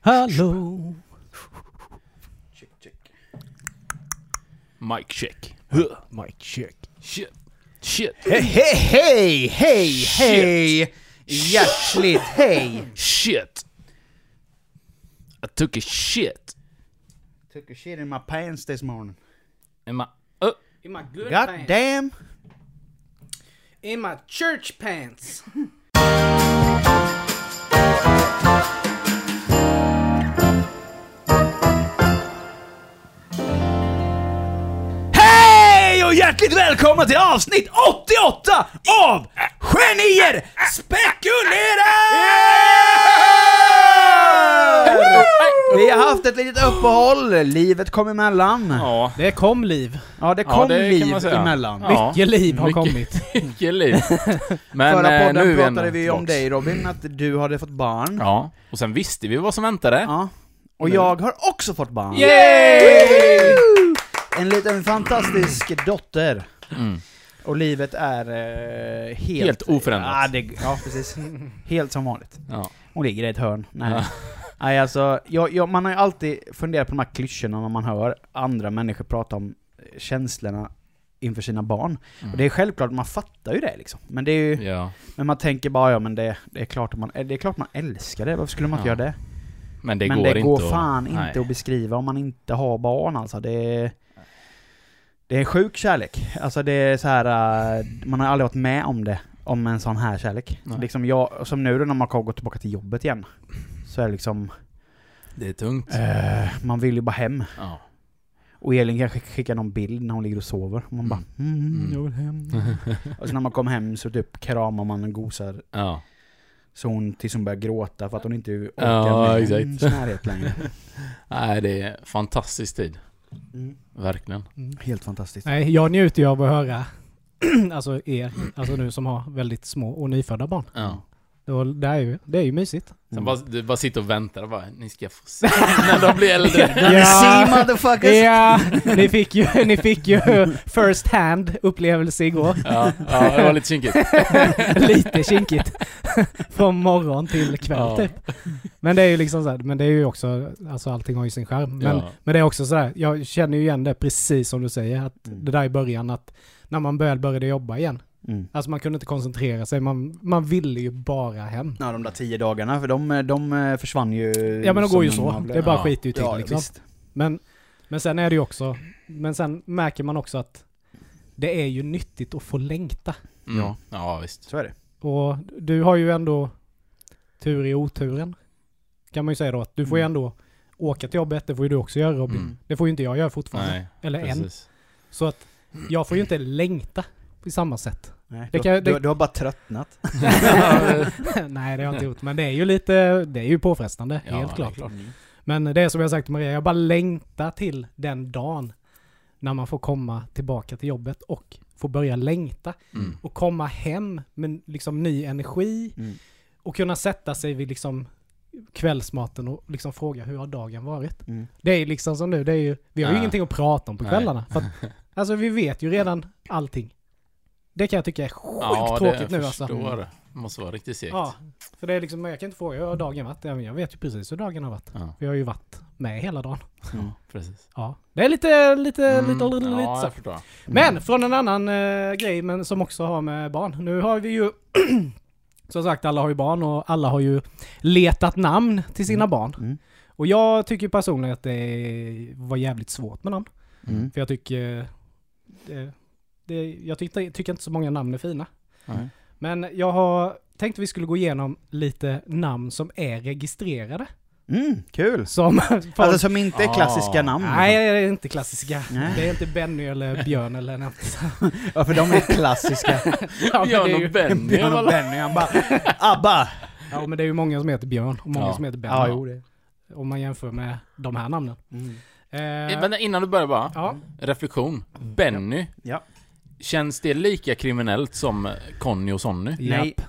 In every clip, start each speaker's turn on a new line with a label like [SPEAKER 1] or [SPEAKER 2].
[SPEAKER 1] Hallå!
[SPEAKER 2] Check, check. Mic check.
[SPEAKER 1] Mike check.
[SPEAKER 2] Shit. Shit.
[SPEAKER 1] Hej, hej, hej, hej, hej! Hjärtligt hej!
[SPEAKER 2] Shit. I took a shit
[SPEAKER 1] Took a shit in my pants this morning.
[SPEAKER 2] in my... Uh,
[SPEAKER 3] In my good
[SPEAKER 1] God
[SPEAKER 3] pants.
[SPEAKER 1] damn!
[SPEAKER 3] In my church pants.
[SPEAKER 1] Hej och hjärtligt välkomna till avsnitt 88 av Genier Spekulerar! Vi har haft ett litet uppehåll, livet kom emellan.
[SPEAKER 2] ja.
[SPEAKER 4] Det kom liv.
[SPEAKER 1] Ja, det kom
[SPEAKER 2] Ja, det kan man
[SPEAKER 1] liv
[SPEAKER 2] säga.
[SPEAKER 1] emellan.
[SPEAKER 2] Ja.
[SPEAKER 4] Mycket liv har
[SPEAKER 2] Mycket.
[SPEAKER 4] kommit.
[SPEAKER 2] Vilket liv. Men
[SPEAKER 1] Förra
[SPEAKER 2] eh, nu är
[SPEAKER 1] podden
[SPEAKER 2] vi
[SPEAKER 1] pratade
[SPEAKER 2] ändå
[SPEAKER 1] vi om
[SPEAKER 2] tillbaks.
[SPEAKER 1] dig Robin, att du hade fått barn.
[SPEAKER 2] Ja. Och sen visste vi vad som väntade.
[SPEAKER 1] Ja. Och jag har också fått barn.
[SPEAKER 2] Yay!
[SPEAKER 1] En liten fantastisk dotter.
[SPEAKER 2] Mm.
[SPEAKER 1] Och livet är eh, helt...
[SPEAKER 2] Helt oförändrat.
[SPEAKER 1] Ja, det, ja, precis. Helt som vanligt.
[SPEAKER 2] Ja.
[SPEAKER 1] Hon ligger i ett hörn. Nej. Nej, alltså, jag, jag, man har ju alltid funderat på de här klyschorna när man hör andra människor prata om eh, känslorna inför sina barn.
[SPEAKER 2] Mm.
[SPEAKER 1] Och det är självklart, man fattar ju det liksom. Men det är ju...
[SPEAKER 2] ja.
[SPEAKER 1] Men man tänker bara, ja men det, det, är, klart att man, det är klart man älskar det, varför skulle man inte
[SPEAKER 2] Ja.
[SPEAKER 1] göra det?
[SPEAKER 2] Men det
[SPEAKER 1] men
[SPEAKER 2] går
[SPEAKER 1] det
[SPEAKER 2] inte
[SPEAKER 1] går
[SPEAKER 2] att-
[SPEAKER 1] fan
[SPEAKER 2] nej.
[SPEAKER 1] inte att beskriva om man inte har barn alltså. Det är, det är en sjuk kärlek. Alltså det är så här äh, man har aldrig varit med om det, om en sån här kärlek.
[SPEAKER 2] Nej.
[SPEAKER 1] Liksom jag, som nu då när man går tillbaka till jobbet igen, så är det liksom,
[SPEAKER 2] Det är tungt.
[SPEAKER 1] eh, man vill ju bara hem.
[SPEAKER 2] Ja.
[SPEAKER 1] Och Elin kanske skickar någon bild när hon ligger och sover, och man bara mm,
[SPEAKER 2] Mm.
[SPEAKER 1] jag vill hem. och sen när man kommer hem så typ kramar man och gosar
[SPEAKER 2] Ja.
[SPEAKER 1] Så hon, tills hon börjar gråta för att hon inte orkar
[SPEAKER 2] Ja,
[SPEAKER 1] med
[SPEAKER 2] exakt.
[SPEAKER 1] hans närhet längre.
[SPEAKER 2] Nej, det är en fantastisk tid. Verkligen.
[SPEAKER 1] Helt fantastiskt.
[SPEAKER 4] Nej, jag njuter ju av att höra, alltså er, alltså nu som har väldigt små och nyfödda barn.
[SPEAKER 2] Ja.
[SPEAKER 4] Det, var, det, är, ju, det är ju mysigt.
[SPEAKER 2] Sen bara, du bara sitter och väntar och bara, ni ska få se när de blir äldre.
[SPEAKER 4] Ja.
[SPEAKER 1] See motherfuckers!
[SPEAKER 4] Ja, ni fick ju, ni fick ju first hand upplevelse igår.
[SPEAKER 2] Ja, ja, det var lite kinkigt.
[SPEAKER 4] Lite kinkigt. Från morgon till kväll
[SPEAKER 2] Ja.
[SPEAKER 4] typ. Men det är ju liksom så här, men det är ju också, alltså allting har ju sin skärm. Men,
[SPEAKER 2] Ja.
[SPEAKER 4] men det är också så här, jag känner ju igen det precis som du säger, att
[SPEAKER 1] Mm.
[SPEAKER 4] det där i början att när man väl började jobba igen,
[SPEAKER 1] Mm.
[SPEAKER 4] Alltså man kunde inte koncentrera sig, man, man ville ju bara hem.
[SPEAKER 1] Ja, de där tio dagarna, för de, de försvann ju...
[SPEAKER 4] Ja men det går ju
[SPEAKER 1] som
[SPEAKER 4] så,
[SPEAKER 1] en
[SPEAKER 4] det bara
[SPEAKER 2] Ja.
[SPEAKER 4] skiter ju till
[SPEAKER 1] Ja,
[SPEAKER 4] liksom.
[SPEAKER 1] visst.
[SPEAKER 4] Men, men sen är det ju också, men sen märker man också att det är ju nyttigt att få längta.
[SPEAKER 2] Mm.
[SPEAKER 1] Ja.
[SPEAKER 2] Ja. ja, visst.
[SPEAKER 1] Så är det.
[SPEAKER 4] Och du har ju ändå tur i oturen. Kan man ju säga då, att du får ju
[SPEAKER 1] Mm.
[SPEAKER 4] ändå åka till jobbet, det får ju du också göra Robin.
[SPEAKER 2] Mm.
[SPEAKER 4] Det får ju inte jag göra fortfarande.
[SPEAKER 2] Nej,
[SPEAKER 4] Eller än.
[SPEAKER 2] precis.
[SPEAKER 4] Så att jag får ju inte längta på samma sätt.
[SPEAKER 1] Nej,
[SPEAKER 4] Det
[SPEAKER 1] du,
[SPEAKER 4] kan-
[SPEAKER 1] har-
[SPEAKER 4] det-
[SPEAKER 1] Du, du har bara tröttnat.
[SPEAKER 4] Nej det har jag inte gjort, men det är ju lite, det är ju påfrestande,
[SPEAKER 2] Ja, det
[SPEAKER 4] helt
[SPEAKER 2] är
[SPEAKER 4] klart.
[SPEAKER 2] klart.
[SPEAKER 1] Mm.
[SPEAKER 4] Men det är som jag sagt till Maria, jag bara längtar till den dagen när man får komma tillbaka till jobbet och får börja längta
[SPEAKER 2] Mm.
[SPEAKER 4] och komma hem med liksom ny energi
[SPEAKER 1] Mm.
[SPEAKER 4] och kunna sätta sig vid liksom kvällsmaten och liksom fråga hur har dagen varit?
[SPEAKER 1] Mm.
[SPEAKER 4] Det är liksom som nu, det är ju, vi har ju
[SPEAKER 2] Ja.
[SPEAKER 4] ingenting att prata om på
[SPEAKER 2] Nej.
[SPEAKER 4] kvällarna. För att, alltså vi vet ju redan allting. Det kan jag tycka är sjukt tråkigt nu alltså.
[SPEAKER 2] förstår det. Det måste vara riktigt segt.
[SPEAKER 4] Ja, för det är liksom, jag kan inte fråga hur har dagen varit? Ja, men Jag vet ju precis hur dagen har varit.
[SPEAKER 2] Ja,
[SPEAKER 4] För jag har ju varit med hela dagen.
[SPEAKER 1] Mm.
[SPEAKER 2] precis.
[SPEAKER 4] Ja, det är lite, lite,
[SPEAKER 2] Mm.
[SPEAKER 4] lite, lite,
[SPEAKER 2] ja,
[SPEAKER 4] lite så.
[SPEAKER 2] jag förstår.
[SPEAKER 4] Men från en annan eh, grej, men som också har med barn. Nu har vi ju, som sagt, alla har ju barn och alla har ju letat namn till sina barn.
[SPEAKER 1] Mm.
[SPEAKER 4] Och jag tycker personligen att det var jävligt svårt med namn.
[SPEAKER 1] Mm.
[SPEAKER 4] För jag tycker, eh, det, det, jag tycker, tycker inte så många namn är fina.
[SPEAKER 2] Nej.
[SPEAKER 4] Men jag har tänkt att vi skulle gå igenom lite namn som är registrerade.
[SPEAKER 1] Mm, kul!
[SPEAKER 4] Som
[SPEAKER 1] Alltså som inte är klassiska
[SPEAKER 2] Ah.
[SPEAKER 1] namn.
[SPEAKER 4] Nej, det är inte klassiska.
[SPEAKER 1] Nej.
[SPEAKER 4] Det är inte Benny eller Björn eller något.
[SPEAKER 1] Ja, för de är klassiska.
[SPEAKER 4] Ja, men det är
[SPEAKER 2] Björn
[SPEAKER 4] ju-
[SPEAKER 2] och Benny
[SPEAKER 1] Björn och
[SPEAKER 2] alla.
[SPEAKER 1] Benny, han bara ABBA!
[SPEAKER 4] Ja, men det är ju många som heter Björn och många
[SPEAKER 2] Ja.
[SPEAKER 4] som heter Benny.
[SPEAKER 1] Ja, jo det.
[SPEAKER 4] Om man jämför med de här namnen.
[SPEAKER 1] Mm.
[SPEAKER 4] Eh,
[SPEAKER 2] Men innan du börjar bara,
[SPEAKER 4] ja,
[SPEAKER 2] reflektion. Benny,
[SPEAKER 1] Ja.
[SPEAKER 2] känns det lika kriminellt som Conny och Sonny? Nej,
[SPEAKER 1] Nej,
[SPEAKER 4] japp.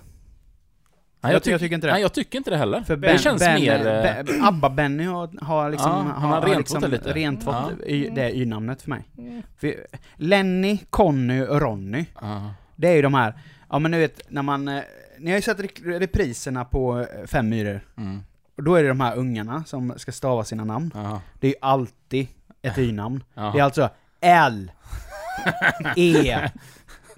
[SPEAKER 1] jag, tycker- jag tycker inte det.
[SPEAKER 2] Nej, jag tycker inte det heller.
[SPEAKER 1] För
[SPEAKER 2] det känns mer... eh,
[SPEAKER 1] Ben- ABBA-Benny har, har liksom,
[SPEAKER 2] Ja, han har rent fått det lite.
[SPEAKER 1] rent fått
[SPEAKER 2] Ja.
[SPEAKER 1] y, det y-namnet för mig.
[SPEAKER 4] Mm.
[SPEAKER 1] För Lenny, Conny och Ronny,
[SPEAKER 2] ja.
[SPEAKER 1] det är ju de här, ja men du vet, när man, eh, ni har ju sett rek- repriserna på eh, Fem myror,
[SPEAKER 2] mm.
[SPEAKER 1] Och då är det de här ungarna som ska stava sina namn.
[SPEAKER 2] Ja.
[SPEAKER 1] Det är ju alltid ett y-namn.
[SPEAKER 2] Ja.
[SPEAKER 1] Det är alltså L, E,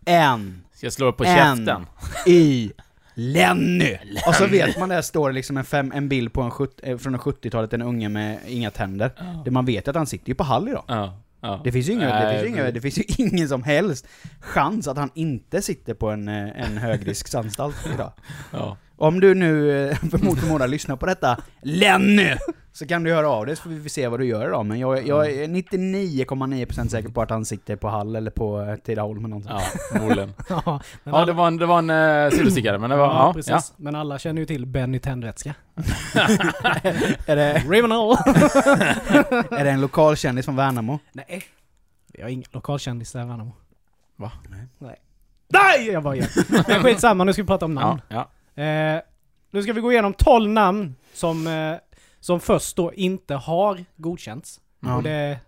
[SPEAKER 1] N,
[SPEAKER 2] Ska jag slå upp på
[SPEAKER 1] N.
[SPEAKER 2] käften?
[SPEAKER 1] I, Lenny! Och så vet man där står det liksom en, fem, en bild på en sjut- eh, från en 70-talet, en unge med inga tänder. Det man vet är att han sitter ju på Hall idag.
[SPEAKER 2] Ja. ja.
[SPEAKER 1] Det finns, ju inga, det,
[SPEAKER 2] Nej,
[SPEAKER 1] finns ju inga, det finns ju ingen som helst chans att han inte sitter på en, eh, en högrisksanstalt idag.
[SPEAKER 2] Ja.
[SPEAKER 1] Om du nu eh, för mot förmodan lyssnar på detta, Lenny! Så kan du höra av dig så får vi se vad du gör idag. Men jag, jag
[SPEAKER 2] Mm.
[SPEAKER 1] är 99,9% säker på att han sitter på Hall eller på eh, Tidaholm eller någonting.
[SPEAKER 2] Ja, förmodligen.
[SPEAKER 4] Ja, men
[SPEAKER 2] Ja, det var en, det var en uh, sillstickare, men det var... Ja,
[SPEAKER 4] precis.
[SPEAKER 2] ja.
[SPEAKER 4] Men alla känner ju till Benny Tändvätska.
[SPEAKER 1] Är, det,
[SPEAKER 4] Rivenal!
[SPEAKER 1] är det en lokal kändis från Värnamo?
[SPEAKER 3] Nej.
[SPEAKER 4] Vi har inga lokalkändisar i Värnamo.
[SPEAKER 2] Va?
[SPEAKER 4] Nej. Nej! Jag bara gör. Men skitsamma, nu ska vi prata om
[SPEAKER 2] Ja,
[SPEAKER 4] namn.
[SPEAKER 2] ja.
[SPEAKER 4] Eh, nu ska vi gå igenom 12 namn som, eh, som först då inte har godkänts.
[SPEAKER 1] Ja.
[SPEAKER 4] Och det...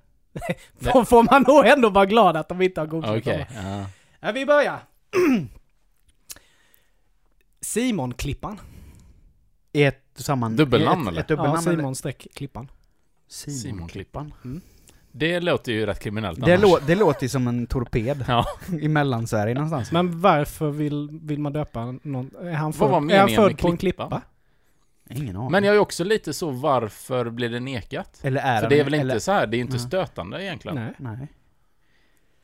[SPEAKER 4] Då får man nog ändå vara glad att de inte har godkänt
[SPEAKER 2] Okej.
[SPEAKER 4] dem.
[SPEAKER 2] Ja.
[SPEAKER 4] Ja, vi börjar. Simon Klippan.
[SPEAKER 1] I ett samman...
[SPEAKER 2] Dubbelnamn,
[SPEAKER 1] i ett,
[SPEAKER 2] eller?
[SPEAKER 1] Ett dubbelnamn
[SPEAKER 4] ja,
[SPEAKER 1] eller?
[SPEAKER 4] Simon streck Klippan.
[SPEAKER 1] Simon.
[SPEAKER 2] Simonklippan. Det låter ju rätt kriminellt
[SPEAKER 1] Mm. Det,
[SPEAKER 2] annars.
[SPEAKER 1] lå, det låter ju som en torped.
[SPEAKER 2] Ja.
[SPEAKER 1] I Mellansverige någonstans.
[SPEAKER 4] Men varför vill, vill man döpa någon? Är han
[SPEAKER 2] var
[SPEAKER 4] född, är
[SPEAKER 2] meningen
[SPEAKER 4] han
[SPEAKER 2] med
[SPEAKER 4] född på en
[SPEAKER 2] klippan?
[SPEAKER 4] klippa?
[SPEAKER 1] Ingen aning.
[SPEAKER 2] Men jag är också lite så, varför blir det nekat?
[SPEAKER 1] eller är
[SPEAKER 2] För
[SPEAKER 1] han-
[SPEAKER 2] det är väl
[SPEAKER 1] eller,
[SPEAKER 2] inte så här, det är inte
[SPEAKER 1] Nej.
[SPEAKER 2] stötande egentligen.
[SPEAKER 4] Nej,
[SPEAKER 1] Nej.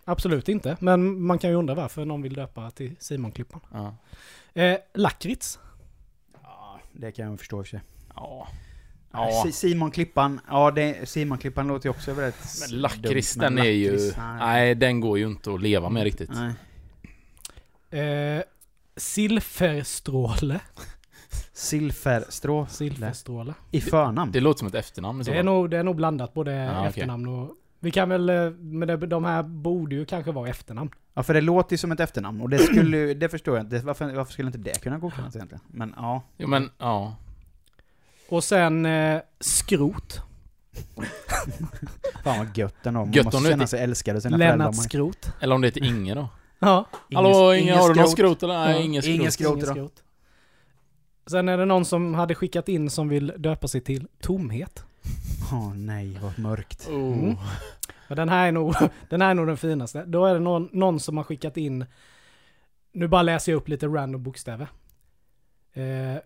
[SPEAKER 4] absolut inte. Men man kan ju undra varför någon vill döpa till Simon Klippan.
[SPEAKER 2] Ja.
[SPEAKER 4] Eh, Lakrits.
[SPEAKER 1] Det kan jag förstå i och för sig.
[SPEAKER 2] Ja.
[SPEAKER 1] Si-
[SPEAKER 2] ja.
[SPEAKER 1] Simon Klippan, ja det, Simon Klippan låter ju också väldigt...
[SPEAKER 2] Men lakrits,
[SPEAKER 1] dumt, men
[SPEAKER 2] den är ju...
[SPEAKER 1] lakrits, nej.
[SPEAKER 2] Nej, den går ju inte att leva med riktigt.
[SPEAKER 1] Nej.
[SPEAKER 4] Eh, Silferstråle.
[SPEAKER 1] Silferstrå
[SPEAKER 4] Silferstråle.
[SPEAKER 1] i förnamn.
[SPEAKER 2] Det låter som ett efternamn i så
[SPEAKER 4] Det är,
[SPEAKER 2] fall.
[SPEAKER 4] nog, det är nog blandat både
[SPEAKER 2] Ja, okej.
[SPEAKER 4] efternamn och... Vi kan väl... eh, Men det, de här borde ju kanske vara efternamn.
[SPEAKER 1] Ja för det låter ju som ett efternamn och det skulle ju- det förstår jag inte. Varför, varför skulle inte det kunna godkännas egentligen? Men ja.
[SPEAKER 2] Jo men, ja.
[SPEAKER 4] Och sen eh, Skrot.
[SPEAKER 1] Fan vad gött den var. Man
[SPEAKER 2] Gött om
[SPEAKER 1] måste
[SPEAKER 2] du
[SPEAKER 1] känna
[SPEAKER 2] inte-
[SPEAKER 1] sig älskad av sina föräldrar.
[SPEAKER 4] Lennart
[SPEAKER 1] Man-
[SPEAKER 4] Skrot.
[SPEAKER 2] Eller om det heter Inge då.
[SPEAKER 4] Ja.
[SPEAKER 1] Ingen-
[SPEAKER 2] Hallå, Inge,
[SPEAKER 1] ingen
[SPEAKER 2] har du något
[SPEAKER 1] skrot.
[SPEAKER 2] skrot eller? Nej,
[SPEAKER 4] Ja,
[SPEAKER 2] inget
[SPEAKER 1] ingen
[SPEAKER 2] skrot.
[SPEAKER 1] skrot.
[SPEAKER 4] Ingen
[SPEAKER 1] då.
[SPEAKER 4] skrot. Sen är det någon som hade skickat in som vill döpa sig till Tomhet.
[SPEAKER 1] Åh nej, vad mörkt.
[SPEAKER 2] Oh.
[SPEAKER 4] Mm. Men den här är nog den, här är nog den finaste. Då är det någon, någon som har skickat in, nu bara läser jag upp lite random bokstäver. Eh,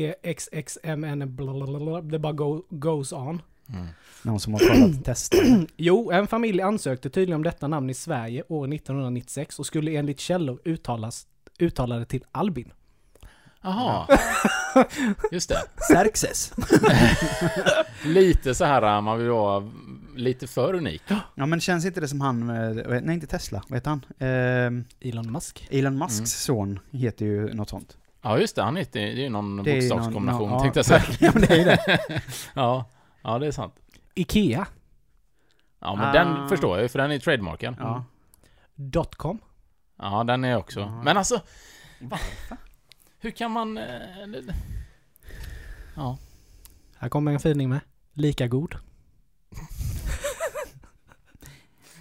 [SPEAKER 4] BRFXXCXXMN blablabla. det bara go, goes on.
[SPEAKER 2] Mm.
[SPEAKER 1] Någon som har kollat tester.
[SPEAKER 4] Jo, en familj ansökte tydligen om detta namn i Sverige år 1996 och skulle enligt källor uttalas, uttala det till Albin.
[SPEAKER 2] Jaha. Just det.
[SPEAKER 1] Xerxes.
[SPEAKER 2] Lite så här, äh, man vill vara lite för unik.
[SPEAKER 1] Ja men känns inte det som han, eh, nej inte Tesla, vad heter han? Ehm,
[SPEAKER 4] Elon Musk.
[SPEAKER 1] Elon Musks
[SPEAKER 2] Mm.
[SPEAKER 1] son heter ju något sånt.
[SPEAKER 2] Ja just det, han heter, det är ju någon
[SPEAKER 1] Det är ju någon-
[SPEAKER 2] bokstavskombination
[SPEAKER 1] någon- ja.
[SPEAKER 2] tänkte jag säga.
[SPEAKER 1] Ja men det är ju det.
[SPEAKER 2] Ja. ja, det är sant.
[SPEAKER 4] Ikea.
[SPEAKER 2] Ja men
[SPEAKER 1] Ah.
[SPEAKER 2] den förstår jag ju för den är trademarken. Ja,
[SPEAKER 1] Ja.
[SPEAKER 4] Dotcom.
[SPEAKER 2] den är jag också.
[SPEAKER 1] Ja.
[SPEAKER 2] Men alltså... Hur kan man... eh, det- Ja.
[SPEAKER 4] Här kommer en fining med. Lika god.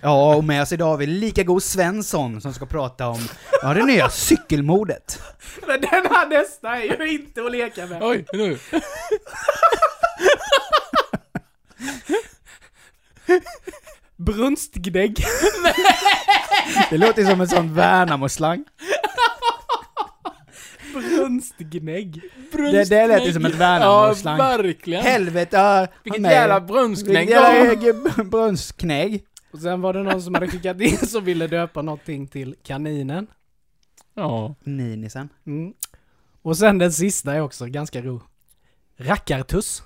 [SPEAKER 1] Ja, och med oss idag har vi lika god Svensson som ska prata om ja, det nya cykelmodet.
[SPEAKER 4] Men den här nästa är ju inte att leka med.
[SPEAKER 2] Oj, nu!
[SPEAKER 4] Brunstgnägg.
[SPEAKER 1] Det låter som en sån Värnamo-slang.
[SPEAKER 4] Brunstgnägg.
[SPEAKER 1] Det, det lät ju som ett
[SPEAKER 2] Ja,
[SPEAKER 1] Värnamo-slang.
[SPEAKER 2] verkligen!
[SPEAKER 1] Helvete! ja,
[SPEAKER 2] Vilket
[SPEAKER 1] nej.
[SPEAKER 2] jävla brunsknägg
[SPEAKER 1] Vilket jävla g- brunsknägg.
[SPEAKER 4] Och sen var det någon som hade skickat in som ville döpa någonting till kaninen.
[SPEAKER 2] Ja.
[SPEAKER 1] Ninisen.
[SPEAKER 4] Mm. Och sen den sista är också ganska ro. Rackartuss.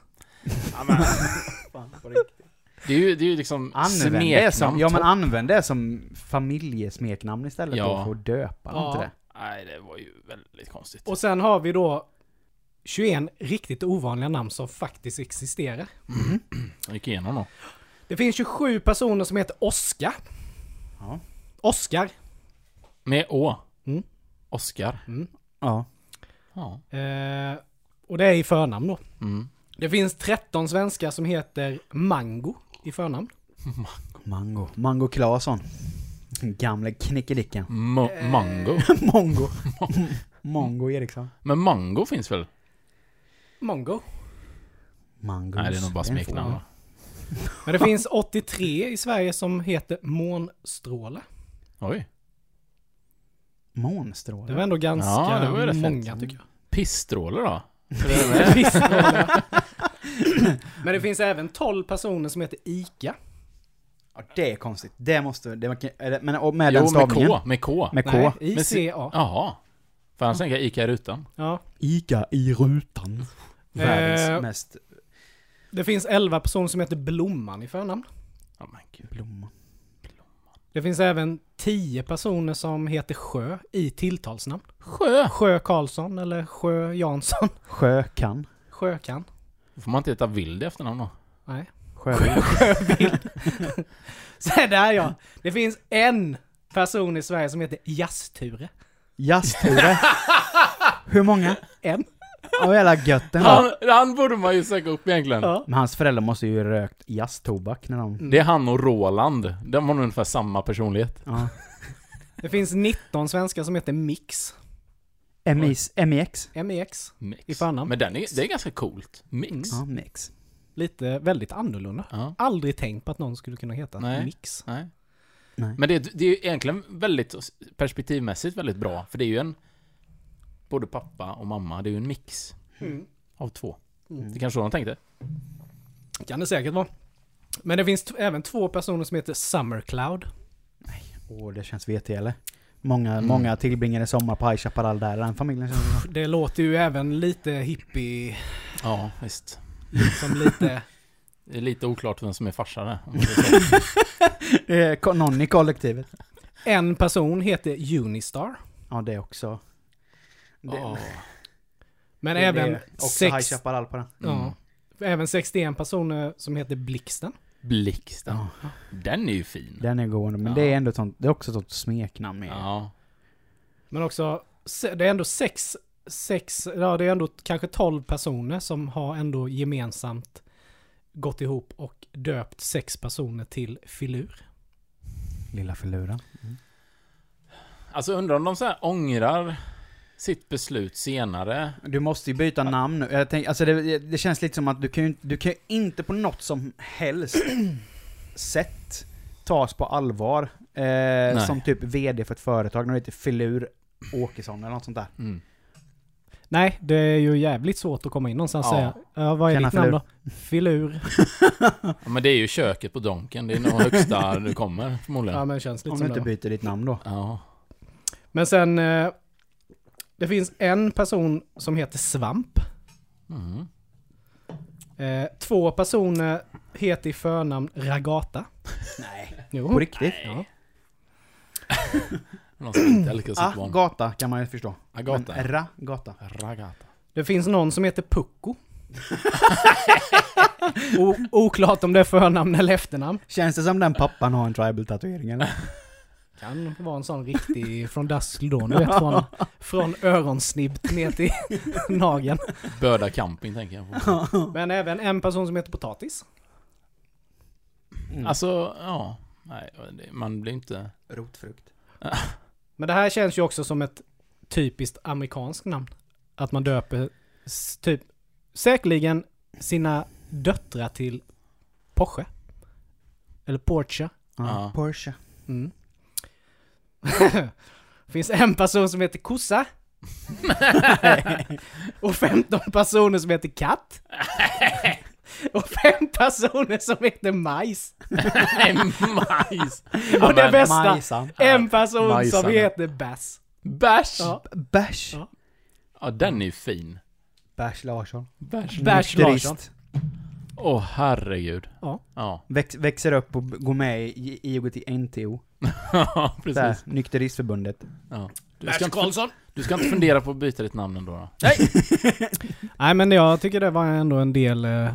[SPEAKER 2] Det är ju, det är ju liksom
[SPEAKER 1] Använd det som,
[SPEAKER 2] smeknamn.
[SPEAKER 1] ja men använd det som familjesmeknamn istället
[SPEAKER 2] Ja.
[SPEAKER 1] då för att döpa
[SPEAKER 4] Ja.
[SPEAKER 1] inte det.
[SPEAKER 2] Nej, det var ju väldigt konstigt.
[SPEAKER 4] Och sen har vi då 21 riktigt ovanliga namn som faktiskt existerar.
[SPEAKER 2] Jag gick igenom då.
[SPEAKER 4] Det finns 27 personer som heter Oskar.
[SPEAKER 1] Ja.
[SPEAKER 4] Oskar.
[SPEAKER 2] Med Å.
[SPEAKER 4] Mm.
[SPEAKER 2] Oskar.
[SPEAKER 1] Ja.
[SPEAKER 2] Ja.
[SPEAKER 4] Eh, och det är i förnamn då.
[SPEAKER 2] Mm.
[SPEAKER 4] Det finns 13 svenskar som heter Mango i förnamn.
[SPEAKER 1] Mango. Mango Claesson. Gamle knickedicken.
[SPEAKER 2] Ma- mango.
[SPEAKER 1] Mongo. Mongo Eriksson.
[SPEAKER 2] Men mango finns väl?
[SPEAKER 4] Mongo.
[SPEAKER 1] Mongoose.
[SPEAKER 2] Nej, det är nog bara
[SPEAKER 1] Den får
[SPEAKER 2] smeknamn.
[SPEAKER 1] man.
[SPEAKER 2] va?
[SPEAKER 4] Men det finns 83 i Sverige som heter Månstråle.
[SPEAKER 2] Oj.
[SPEAKER 4] Det var
[SPEAKER 1] Månstråle.
[SPEAKER 4] ändå ganska
[SPEAKER 2] Ja, det var ju rätt
[SPEAKER 4] många
[SPEAKER 2] fett.
[SPEAKER 4] tycker jag.
[SPEAKER 2] Pissstråle då?
[SPEAKER 4] Men det finns även 12 personer som heter Ica.
[SPEAKER 1] Ja, det är konstigt. Det måste... Det, man kan- är det- men och med den
[SPEAKER 2] Jo, med
[SPEAKER 1] stavningen?
[SPEAKER 2] K. Med K.
[SPEAKER 1] Med K.
[SPEAKER 4] Nej,
[SPEAKER 2] Men se-
[SPEAKER 4] ICA.
[SPEAKER 2] Jaha. För annars tänker jag Ica i rutan.
[SPEAKER 4] Ja.
[SPEAKER 1] Ica i rutan. Världens
[SPEAKER 4] Eh.
[SPEAKER 1] mest
[SPEAKER 4] Det finns 11 personer som heter Blomman i förnamn.
[SPEAKER 2] Ja men gud.
[SPEAKER 1] blomma.
[SPEAKER 4] Det finns även 10 personer som heter Sjö i tilltalsnamn.
[SPEAKER 2] Sjö.
[SPEAKER 4] Sjö Karlsson eller Sjö Jansson.
[SPEAKER 1] Sjökan.
[SPEAKER 4] Sjökan.
[SPEAKER 2] Får man inte heta Vild i efternamn då?
[SPEAKER 4] Nej.
[SPEAKER 1] Sjö.
[SPEAKER 4] Så där ja. Det finns en person i Sverige som heter Jazzture.
[SPEAKER 1] Jazzture. Hur många?
[SPEAKER 4] En.
[SPEAKER 1] Åh jävla gött den var.
[SPEAKER 2] Han, han borde man ju söka upp egentligen.
[SPEAKER 4] Ja.
[SPEAKER 1] Men hans föräldrar måste ju rökt jazztobak när de...
[SPEAKER 2] Det är han och Roland. De har nog ungefär samma personlighet.
[SPEAKER 1] Ja.
[SPEAKER 4] Det finns 19 svenskar som heter Mix. E
[SPEAKER 1] MIS, MEX.
[SPEAKER 4] MEX.
[SPEAKER 2] Mix.
[SPEAKER 4] I förnamn.
[SPEAKER 2] Men den är, det är ganska coolt. Mix.
[SPEAKER 1] Ja, mix.
[SPEAKER 4] Lite väldigt annorlunda.
[SPEAKER 2] Ja.
[SPEAKER 4] Aldrig tänkt på att någon skulle kunna heta
[SPEAKER 2] Nej.
[SPEAKER 4] Mix.
[SPEAKER 2] Nej.
[SPEAKER 1] Nej.
[SPEAKER 2] Men det, är- det är ju egentligen väldigt perspektivmässigt väldigt bra. För det är ju en... Både pappa och mamma, det är ju en mix. Av två. Det kanske var de tänkte.
[SPEAKER 4] Kan det säkert vara. Men det finns t- även två personer som heter Summercloud.
[SPEAKER 1] Åh, det känns vetig eller? Många,
[SPEAKER 4] Mm.
[SPEAKER 1] många tillbringade sommar på High Chaparral där, den familjen känns det som.
[SPEAKER 4] Det låter ju även lite hippie,
[SPEAKER 2] Ja, visst.
[SPEAKER 4] liksom lite...
[SPEAKER 2] Det är lite oklart vem som är farsa där.
[SPEAKER 1] Det är Eh, ko- Någon i kollektivet.
[SPEAKER 4] En person heter Unistar.
[SPEAKER 1] Ja, det också. Det,
[SPEAKER 2] Åh.
[SPEAKER 4] Men
[SPEAKER 1] det,
[SPEAKER 4] även,
[SPEAKER 1] det är också
[SPEAKER 4] sex,
[SPEAKER 1] High Mm. Chaparral på den.
[SPEAKER 4] ja, även 61 personer som heter Blixten.
[SPEAKER 2] Blixten.
[SPEAKER 1] Ja.
[SPEAKER 2] Den är ju fin.
[SPEAKER 1] Den är god, men
[SPEAKER 2] Ja.
[SPEAKER 1] det är ändå ett sånt, det är också ett sånt smeknamn med.
[SPEAKER 2] Ja.
[SPEAKER 4] Men också, se- det är ändå sex, sex, ja det är ändå kanske 12 personer som har ändå gemensamt gått ihop och döpt sex personer till filur.
[SPEAKER 1] Lilla filuren.
[SPEAKER 2] Alltså undrar om de så här ångrar sitt beslut senare.
[SPEAKER 1] Du måste ju byta namn nu. Jag tänk, alltså det, det känns lite som att du kan ju du kan ju inte på något som helst sätt tas på allvar. Eh, som typ VD för ett företag, när du heter Filur Åkesson eller något sånt där.
[SPEAKER 4] Nej, det är ju jävligt svårt att komma in någonstans och
[SPEAKER 2] Ja.
[SPEAKER 4] säga. Ja, vad är
[SPEAKER 1] Tjena,
[SPEAKER 4] ditt namn då? Filur.
[SPEAKER 2] Ja, men det är ju köket på Donken. Det är nog högsta du kommer förmodligen.
[SPEAKER 4] Ja, men det känns lite
[SPEAKER 1] Om du
[SPEAKER 4] som
[SPEAKER 1] inte
[SPEAKER 4] det. va?
[SPEAKER 1] byter ditt namn då.
[SPEAKER 2] Ja.
[SPEAKER 4] Men sen, eh, det finns en person som heter Svamp.
[SPEAKER 2] Mm.
[SPEAKER 4] Eh, två personer heter i förnamn Ragata.
[SPEAKER 1] Nej. På
[SPEAKER 4] Jo.
[SPEAKER 1] riktigt?
[SPEAKER 4] Ja.
[SPEAKER 2] Någon som inte älskar sitt barn.
[SPEAKER 1] Agata Ah, kan man ju förstå.
[SPEAKER 2] Agata.
[SPEAKER 1] Men Ragata.
[SPEAKER 2] Ragata.
[SPEAKER 4] Det finns någon som heter Pucko. o- oklart om det är förnamn eller efternamn.
[SPEAKER 1] Känns det som den pappan har en tribal-tatuering eller?
[SPEAKER 4] Kan vara en sån riktig från Dassel då, ni vet från, från öronsnibb ner till nageln.
[SPEAKER 2] Böda camping tänker jag på.
[SPEAKER 4] Men även en person som heter Potatis.
[SPEAKER 2] Alltså, ja. Nej, det- man blir inte...
[SPEAKER 1] Rotfrukt.
[SPEAKER 4] Men det här känns ju också som ett typiskt amerikanskt namn. Att man döper s- typ säkerligen sina döttrar till Porsche. Eller Porsche.
[SPEAKER 1] Ja.
[SPEAKER 2] Ja.
[SPEAKER 1] Porsche.
[SPEAKER 4] Mm. finns en person som heter kossa. och 15 personer som heter katt. och fem personer som heter majs.
[SPEAKER 2] Nej, majs!
[SPEAKER 4] Och det
[SPEAKER 2] men-
[SPEAKER 4] bästa,
[SPEAKER 1] Majsan.
[SPEAKER 4] en person som
[SPEAKER 2] Majsarna.
[SPEAKER 4] heter bass.
[SPEAKER 2] Bärs! Ja.
[SPEAKER 4] Ja.
[SPEAKER 1] Bärs.
[SPEAKER 4] Ja.
[SPEAKER 2] den är ju fin.
[SPEAKER 1] Bärs Larsson.
[SPEAKER 2] Bärs.
[SPEAKER 4] Bärs
[SPEAKER 1] Nykterist.
[SPEAKER 4] Larsson.
[SPEAKER 2] Åh, herregud.
[SPEAKER 4] Ja.
[SPEAKER 2] Ja,
[SPEAKER 1] Väx, växer upp och b- går med i IOGT-NTO. Där,
[SPEAKER 2] precis.
[SPEAKER 1] Nykteristförbundet.
[SPEAKER 2] Ja. Du, ska inte, du ska inte fundera på att byta ditt namn ändå då?
[SPEAKER 4] Nej men jag tycker det var ändå en del eh,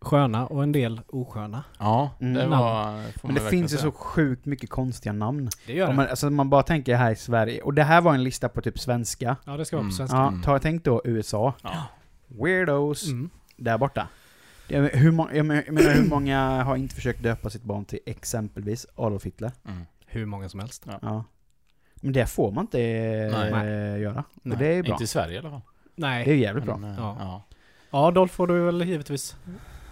[SPEAKER 4] sköna och en del osköna.
[SPEAKER 2] Ja, det
[SPEAKER 1] Mm.
[SPEAKER 2] var... Får
[SPEAKER 1] Men
[SPEAKER 2] man
[SPEAKER 1] det
[SPEAKER 2] verkligen
[SPEAKER 1] finns ju
[SPEAKER 2] säga.
[SPEAKER 1] så sjukt mycket konstiga namn.
[SPEAKER 4] Det gör
[SPEAKER 1] Om man, alltså man bara tänker här i Sverige, och det här var en lista på typ svenska.
[SPEAKER 4] Ja det ska vara på
[SPEAKER 2] Mm.
[SPEAKER 4] svenska.
[SPEAKER 1] Ja, ta, tänk då USA.
[SPEAKER 2] Ja.
[SPEAKER 1] Weirdos.
[SPEAKER 4] Mm.
[SPEAKER 1] Där borta. Jag men- hur, må- jag men- jag menar, hur många har inte försökt döpa sitt barn till exempelvis Adolf Hitler?
[SPEAKER 2] Mm.
[SPEAKER 4] Hur många som helst.
[SPEAKER 1] Ja. Men det får man inte eh,
[SPEAKER 2] Nej.
[SPEAKER 1] göra. Och
[SPEAKER 4] Nej,
[SPEAKER 1] det är bra.
[SPEAKER 2] Inte i Sverige i alla fall.
[SPEAKER 1] Det är
[SPEAKER 4] Nej.
[SPEAKER 1] jävligt bra.
[SPEAKER 2] Men, eh,
[SPEAKER 4] Ja.
[SPEAKER 2] ja.
[SPEAKER 4] Ja, Dolph får du väl givetvis.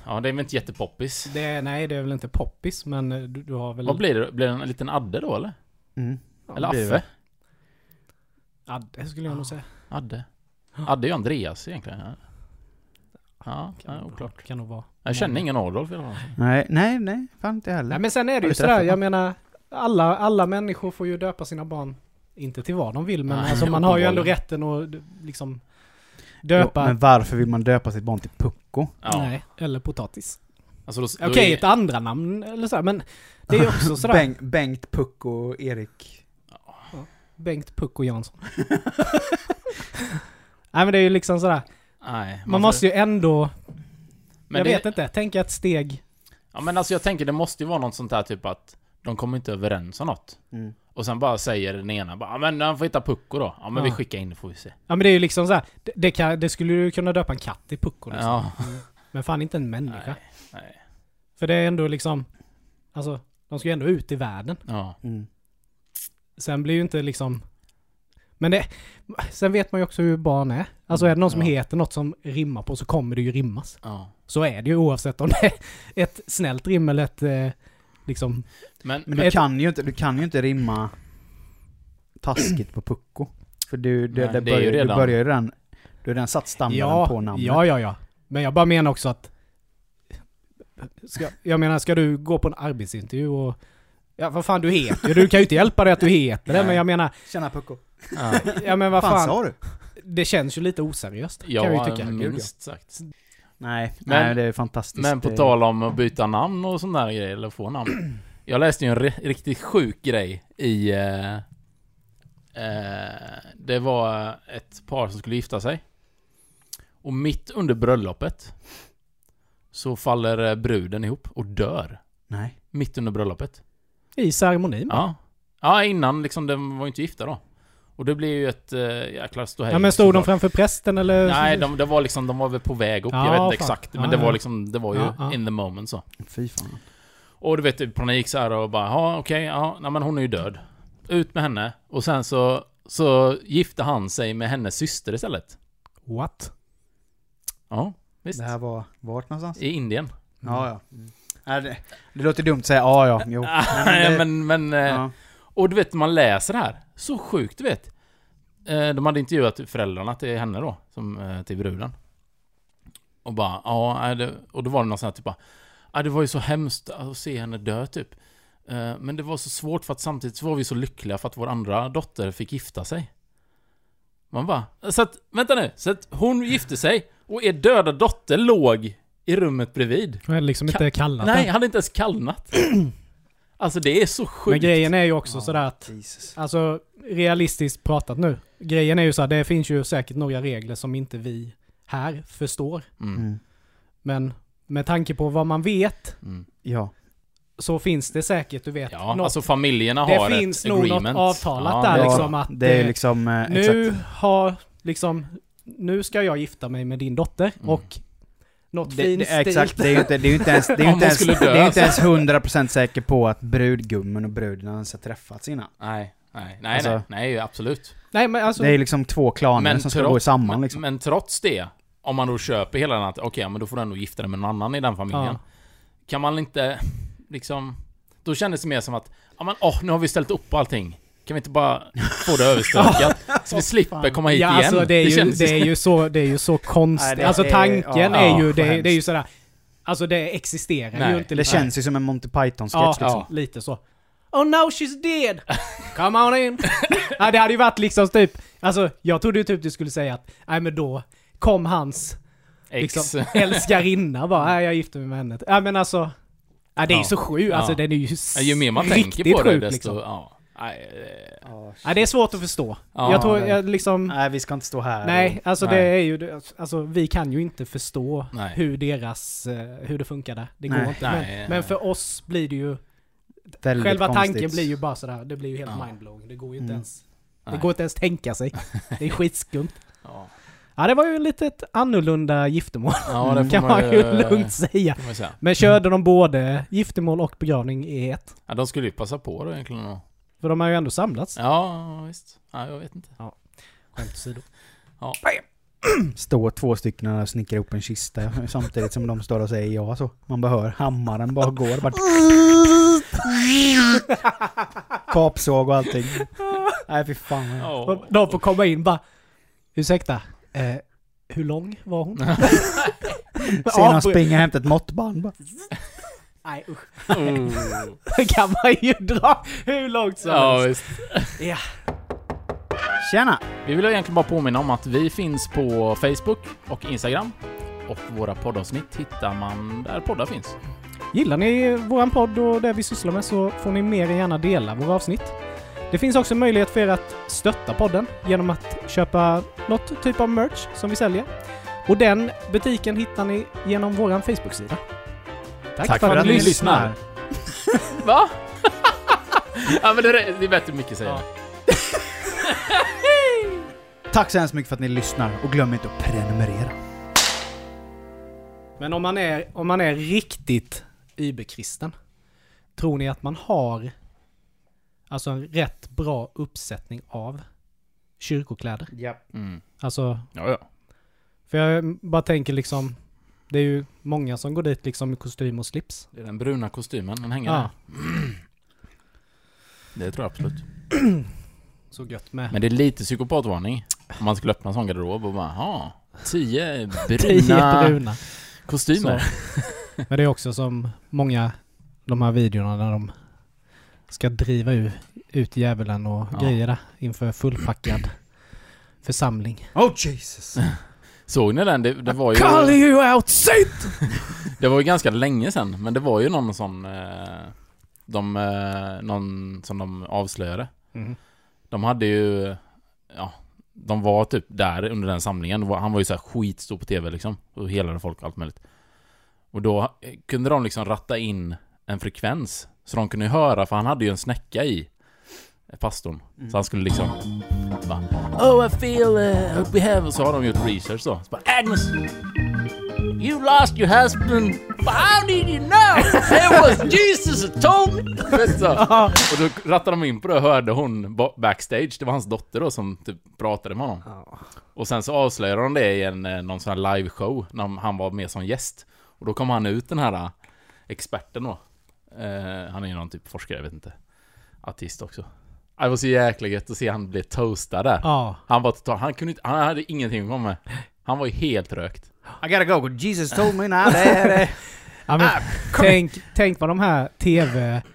[SPEAKER 2] Ja, det är väl inte jättepoppis.
[SPEAKER 4] Det är, nej, det är väl inte poppis, men eh, du, du har väl...
[SPEAKER 2] Vad blir det? Blir det en liten Adde då eller?
[SPEAKER 1] Mm.
[SPEAKER 2] eller
[SPEAKER 1] det blir
[SPEAKER 2] Affe?
[SPEAKER 4] Ja, det skulle jag nog säga.
[SPEAKER 2] Adde. Adde är ju Andreas egentligen. Ja, ja, ja oklart. Mm.
[SPEAKER 4] Kan nog vara.
[SPEAKER 2] Jag känner ingen Adolf i alla fall.
[SPEAKER 1] Nej, nej, nej. Fan inte
[SPEAKER 4] Nej,
[SPEAKER 1] heller.
[SPEAKER 4] men sen är det
[SPEAKER 1] Har
[SPEAKER 4] ju
[SPEAKER 1] du träffat
[SPEAKER 4] sådär, jag
[SPEAKER 1] dem?
[SPEAKER 4] menar, alla, alla människor får ju döpa sina barn, inte till vad de vill, men
[SPEAKER 2] Nej,
[SPEAKER 4] alltså, man har ju ändå
[SPEAKER 2] uppenbarligen.
[SPEAKER 4] rätten att d- liksom
[SPEAKER 1] Jo,
[SPEAKER 4] döpa,
[SPEAKER 1] men varför vill man döpa sitt barn till Pucko?
[SPEAKER 2] Ja.
[SPEAKER 4] nej, eller potatis.
[SPEAKER 2] Alltså då, då
[SPEAKER 4] Okej,
[SPEAKER 2] är,
[SPEAKER 4] ett andra namn eller sådär, men det är ju också sådär,
[SPEAKER 1] Bengt, Bengt Pucko och Erik.
[SPEAKER 4] Bengt Puck och Jansson. nej, men det är ju liksom sådär,
[SPEAKER 2] nej,
[SPEAKER 4] man måste ju ändå,
[SPEAKER 2] men
[SPEAKER 4] jag
[SPEAKER 2] det,
[SPEAKER 4] vet inte, tänka ett steg.
[SPEAKER 2] Ja, men alltså jag tänker det måste ju vara något sånt här typ att de kommer inte överens om något.
[SPEAKER 1] Mm.
[SPEAKER 2] Och sen bara säger den ena bara, "Ja, men han får hitta Pucko då. Ja men vi
[SPEAKER 4] Ja.
[SPEAKER 2] skickar in det får vi se.
[SPEAKER 4] Ja men det är ju liksom såhär, det, det, kan, det skulle du kunna döpa en katt i Pucko liksom.
[SPEAKER 2] Ja.
[SPEAKER 4] Men fan inte en människa.
[SPEAKER 2] Nej, nej.
[SPEAKER 4] För det är ändå liksom, alltså, de ska ju ändå ut i världen.
[SPEAKER 2] Ja.
[SPEAKER 1] Mm.
[SPEAKER 4] Sen blir ju inte liksom... Men det... Sen vet man ju också hur barn är. Alltså är det någon som
[SPEAKER 2] Mm, Ja.
[SPEAKER 4] heter något som rimmar på så kommer det ju rimmas.
[SPEAKER 2] ja.
[SPEAKER 4] Så är det ju oavsett om det är ett snällt rim eller ett... Eh, liksom...
[SPEAKER 2] Men,
[SPEAKER 1] Men du
[SPEAKER 4] Ett-
[SPEAKER 1] kan, ju inte, du kan ju inte rimma taskigt på Pucko. För du, du,
[SPEAKER 2] Nej,
[SPEAKER 1] det
[SPEAKER 2] det är ju
[SPEAKER 1] börjar, du
[SPEAKER 2] redan-
[SPEAKER 1] börjar ju redan... Du har redan satt standarden på
[SPEAKER 4] Ja,
[SPEAKER 1] namnet.
[SPEAKER 4] ja, ja, ja. Men jag bara menar också att... Ska, jag menar, ska du gå på en arbetsintervju och... Ja, vad fan du heter ju. Du kan ju inte hjälpa dig att du heter det. Men jag menar,
[SPEAKER 1] Tjena Pucko.
[SPEAKER 2] ja.
[SPEAKER 4] ja men vad
[SPEAKER 1] Vad fan
[SPEAKER 4] fan.
[SPEAKER 1] sa du?
[SPEAKER 4] Det känns ju lite oseriöst.
[SPEAKER 2] Ja,
[SPEAKER 4] kan jag ju tycka. Gud, ja.
[SPEAKER 2] minst sagt.
[SPEAKER 1] Nej,
[SPEAKER 2] Men-
[SPEAKER 1] nej det är fantastiskt.
[SPEAKER 2] Men på
[SPEAKER 1] Det-
[SPEAKER 2] tal om att byta namn och sådana där grejer, eller få namn. Jag läste ju en ri- riktigt sjuk grej i... Eh, eh, det var ett par som skulle gifta sig. Och mitt under bröllopet så faller eh, bruden ihop och dör.
[SPEAKER 1] Nej.
[SPEAKER 2] Mitt under bröllopet.
[SPEAKER 4] Mm. I ceremonin bara.
[SPEAKER 2] Ja. Ja, innan liksom, de var ju inte gifta då. Och det blev ju ett eh, jäkla ståhej.
[SPEAKER 4] Ja men stod de
[SPEAKER 2] såklart.
[SPEAKER 4] framför prästen eller?
[SPEAKER 2] Nej, de, det var liksom, de var väl på väg upp.
[SPEAKER 4] Ja,
[SPEAKER 2] jag vet inte
[SPEAKER 4] fan.
[SPEAKER 2] exakt. Men
[SPEAKER 4] Ja,
[SPEAKER 2] det
[SPEAKER 4] ja.
[SPEAKER 2] var liksom, det var ju
[SPEAKER 4] Ja, ja.
[SPEAKER 2] in the moment så.
[SPEAKER 1] Fy fan.
[SPEAKER 2] Och du vet, i panik så här och bara, ja okej, ja, nej men hon är ju död. Ut med henne. Och sen så, så gifte han sig med hennes syster istället.
[SPEAKER 4] What?
[SPEAKER 2] Ja, visst.
[SPEAKER 1] Det här var vart någonstans?
[SPEAKER 2] I Indien.
[SPEAKER 1] Ja, ja. Mm. Nej, det, det låter dumt att säga ja, ja, jo.
[SPEAKER 2] Nej,
[SPEAKER 1] det-
[SPEAKER 2] men, men, eh,
[SPEAKER 1] ja.
[SPEAKER 2] Och du vet, man läser det här. Så sjukt, du vet. Eh, De hade intervjuat föräldrarna till henne då, som, eh, till bruden. Och bara, ja, nej, det- och då var det någon sån här typ bara, ja, det var ju så hemskt att se henne dö typ. Eh, Men det var så svårt för att samtidigt så var vi så lyckliga för att vår andra dotter fick gifta sig. Man bara, så att, vänta nu, så att hon gifte sig och er döda dotter låg i rummet bredvid.
[SPEAKER 4] Jag hade liksom inte kallat
[SPEAKER 2] Nej,
[SPEAKER 4] Nej,
[SPEAKER 2] hade inte ens kallnat. Alltså det är så
[SPEAKER 4] Men
[SPEAKER 2] sjukt.
[SPEAKER 4] grejen är ju också
[SPEAKER 1] Ja.
[SPEAKER 4] sådär att,
[SPEAKER 1] Jesus.
[SPEAKER 4] alltså realistiskt pratat nu. Grejen är ju såhär, det finns ju säkert några regler som inte vi här förstår.
[SPEAKER 2] Mm,
[SPEAKER 1] Mm.
[SPEAKER 4] Men med tanke på vad man vet
[SPEAKER 2] mm.
[SPEAKER 1] Ja.
[SPEAKER 4] så finns det säkert, du vet,
[SPEAKER 2] Ja,
[SPEAKER 4] något.
[SPEAKER 2] alltså familjerna
[SPEAKER 4] Det
[SPEAKER 2] har
[SPEAKER 4] finns
[SPEAKER 2] ett
[SPEAKER 4] nog något
[SPEAKER 2] agreement.
[SPEAKER 4] avtalat där,
[SPEAKER 2] det är
[SPEAKER 4] liksom.
[SPEAKER 2] klart.
[SPEAKER 4] att
[SPEAKER 1] det är
[SPEAKER 4] det-
[SPEAKER 1] liksom... Eh,
[SPEAKER 4] nu har liksom, nu ska jag gifta mig med din dotter
[SPEAKER 2] Mm.
[SPEAKER 4] och något
[SPEAKER 1] Exakt. Det,
[SPEAKER 4] fint
[SPEAKER 1] det,
[SPEAKER 4] stilt.
[SPEAKER 1] exakt, det är ju inte, det är ju inte ens... Det är ju
[SPEAKER 2] Om
[SPEAKER 1] inte
[SPEAKER 2] hon
[SPEAKER 1] ens,
[SPEAKER 2] skulle dö,
[SPEAKER 1] det är ju inte ens 100% säker på att brudgummen och bruden ens har träffats innan.
[SPEAKER 2] Nej, nej, nej,
[SPEAKER 1] Alltså-
[SPEAKER 2] nej, nej, absolut.
[SPEAKER 4] Nej men alltså,
[SPEAKER 1] det är liksom två klaner
[SPEAKER 2] Men
[SPEAKER 1] som ska
[SPEAKER 2] trots-
[SPEAKER 1] gå samman
[SPEAKER 2] men,
[SPEAKER 1] liksom.
[SPEAKER 2] men trots det, om man då köper hela den att okej, men då får du ändå gifta dig med någon annan i den familjen.
[SPEAKER 4] Ja.
[SPEAKER 2] Kan man inte, liksom... Då kändes det mer som att, ja men åh, nu har vi ställt upp allting. Kan vi inte bara få det överstökat? så vi slipper komma hit
[SPEAKER 4] ja,
[SPEAKER 2] igen.
[SPEAKER 4] Alltså, det, är ju,
[SPEAKER 2] kändes-
[SPEAKER 4] det, är ju så, det är ju så konstigt.
[SPEAKER 1] Nej, det
[SPEAKER 4] alltså
[SPEAKER 1] är-
[SPEAKER 4] tanken
[SPEAKER 1] ja,
[SPEAKER 4] är ju,
[SPEAKER 1] ja,
[SPEAKER 4] det, är-
[SPEAKER 1] hemskt.
[SPEAKER 4] det är ju sådär, alltså det existerar
[SPEAKER 2] Nej,
[SPEAKER 4] ju inte.
[SPEAKER 1] Det känns ju som en Monty Python-sketch
[SPEAKER 4] ja,
[SPEAKER 1] liksom.
[SPEAKER 4] ja, lite så. Oh now she's dead! Come on in! ja, det hade ju varit liksom typ, alltså jag trodde ju typ du skulle säga att, nej men då kom hans
[SPEAKER 2] Ex.
[SPEAKER 4] liksom, älskarinna bara, nej jag gifte mig med henne. Ja men alltså, ja, det är ju
[SPEAKER 2] Ja.
[SPEAKER 4] så sjukt, alltså
[SPEAKER 2] Ja.
[SPEAKER 4] den är ju s-
[SPEAKER 2] Ja, Ju mer man
[SPEAKER 4] riktigt
[SPEAKER 2] tänker på det,
[SPEAKER 4] sjuk,
[SPEAKER 2] desto...
[SPEAKER 4] liksom.
[SPEAKER 2] Ja. Nej, eh,
[SPEAKER 4] Ja, det är svårt att förstå.
[SPEAKER 2] Ja,
[SPEAKER 4] jag tror,
[SPEAKER 1] det-
[SPEAKER 4] jag liksom...
[SPEAKER 1] Nej, vi ska inte stå här.
[SPEAKER 4] Nej, alltså
[SPEAKER 2] Nej.
[SPEAKER 4] det är ju, det- alltså vi kan ju inte förstå
[SPEAKER 2] Nej.
[SPEAKER 4] hur deras, eh, hur det funkar där. Det
[SPEAKER 1] Nej.
[SPEAKER 4] går inte.
[SPEAKER 2] Nej, nej.
[SPEAKER 4] men, men för oss blir det ju,
[SPEAKER 1] och väldigt
[SPEAKER 4] själva
[SPEAKER 1] konstigt.
[SPEAKER 4] tanken blir ju bara sådär, det blir ju helt
[SPEAKER 2] Ja.
[SPEAKER 4] mindblowing. Det går ju inte
[SPEAKER 1] Mm.
[SPEAKER 4] ens, det
[SPEAKER 2] Nej.
[SPEAKER 4] går inte ens tänka sig. Det är skitskumt.
[SPEAKER 2] ja.
[SPEAKER 4] Ja, det var ju lite ett annorlunda giftermål,
[SPEAKER 2] ja, det får
[SPEAKER 4] kan
[SPEAKER 2] man
[SPEAKER 4] man ju lugnt säga.
[SPEAKER 2] Kan man säga.
[SPEAKER 4] Men körde de både giftermål och begravning i ett?
[SPEAKER 2] Ja, de skulle ju passa på då egentligen. och-
[SPEAKER 4] För de har ju ändå samlats.
[SPEAKER 2] Ja, visst. Ja, jag vet inte.
[SPEAKER 4] Skämt åsido.
[SPEAKER 2] Ja.
[SPEAKER 1] stå två stycken och snickra upp en kista samtidigt som de står och säger ja så. Man bara hör hammaren bara går. Bara... Kapsåg och allting. Nej fy fan.
[SPEAKER 2] Ja.
[SPEAKER 4] De får komma in bara. Ursäkta. Eh, hur lång var hon?
[SPEAKER 1] Ser någon
[SPEAKER 4] Avbry-
[SPEAKER 1] springa och hämta ett måttband bara.
[SPEAKER 4] Nej usch.
[SPEAKER 2] Oh.
[SPEAKER 4] Det kan man ju dra hur långt som
[SPEAKER 2] ja,
[SPEAKER 4] helst.
[SPEAKER 2] visst.
[SPEAKER 4] Ja.
[SPEAKER 1] Tjena!
[SPEAKER 2] Vi vill egentligen bara påminna om att vi finns på Facebook och Instagram. Och våra poddavsnitt hittar man där poddar finns.
[SPEAKER 4] Gillar ni våran podd och det vi sysslar med så får ni mer än gärna dela våra avsnitt. Det finns också möjlighet för er att stötta podden genom att köpa något typ av merch som vi säljer. Och den butiken hittar ni genom våran Facebook-sida. Tack,
[SPEAKER 2] Va? ja men det är det är bättre mycket säger
[SPEAKER 4] Ja.
[SPEAKER 1] Tack så hemskt mycket för att ni lyssnar och glöm inte att prenumerera.
[SPEAKER 4] Men om man är, om man är riktigt überkristen, tror ni att man har alltså en rätt bra uppsättning av kyrkokläder?
[SPEAKER 1] Ja.
[SPEAKER 2] Mm.
[SPEAKER 4] Alltså,
[SPEAKER 2] Ja, ja.
[SPEAKER 4] för jag bara tänker liksom, det är ju många som går dit liksom i kostym och slips.
[SPEAKER 2] Det är den bruna kostymen, den hänger
[SPEAKER 4] Ja.
[SPEAKER 2] där. Det tror jag absolut.
[SPEAKER 4] Så gött med.
[SPEAKER 2] Men det är lite psykopatvarning. Om man skulle öppna en sån garderob och bara, ha tio
[SPEAKER 4] Tio
[SPEAKER 2] bruna
[SPEAKER 4] bruna.
[SPEAKER 2] kostymer.
[SPEAKER 4] Men det är också som många, de här videorna när de ska driva ut, ut djävulen och
[SPEAKER 2] Ja.
[SPEAKER 4] grejer där inför fullpackad församling.
[SPEAKER 1] Oh Jesus!
[SPEAKER 2] Såg ni den? Det, det var ju...
[SPEAKER 4] you out Satan!
[SPEAKER 2] Det var ju ganska länge sedan, men det var ju någon sån... Eh, de, eh, någon som de avslöjade.
[SPEAKER 4] Mm.
[SPEAKER 2] De hade ju... Ja, de var typ där under den samlingen. Det var- Han var ju så här skitstor på TV liksom. Och helade folk och allt möjligt. Och då eh, kunde de liksom ratta in en frekvens. Så de kunde ju höra, för han hade ju en snäcka i eh, pastorn. Så han skulle liksom... Bara, oh I feel uh, hope we have... Så har de gjort research då. Så bara, Agnes! You lost your husband. But how did you know? It was Jesus who told me. Vet så. Och då rattade de in på det och hörde hon ba- backstage. Det var hans dotter då som typ pratade med honom. Och sen så avslöjade de det i en, eh, någon sån här liveshow. När de- han var med som gäst. Och då kom han ut den här eh, experten då. Eh, han är ju någon typ forskare, jag vet inte. Artist också. Ah, Det var så jäkla gött att se han bli toastad där.
[SPEAKER 4] Ja.
[SPEAKER 2] Han var total, han kunde inte, han hade ingenting att komma med. Han var ju helt rökt.
[SPEAKER 1] I gotta go, Jesus told me now. Det är det.
[SPEAKER 4] Ja, men, tänk, tänk vad de här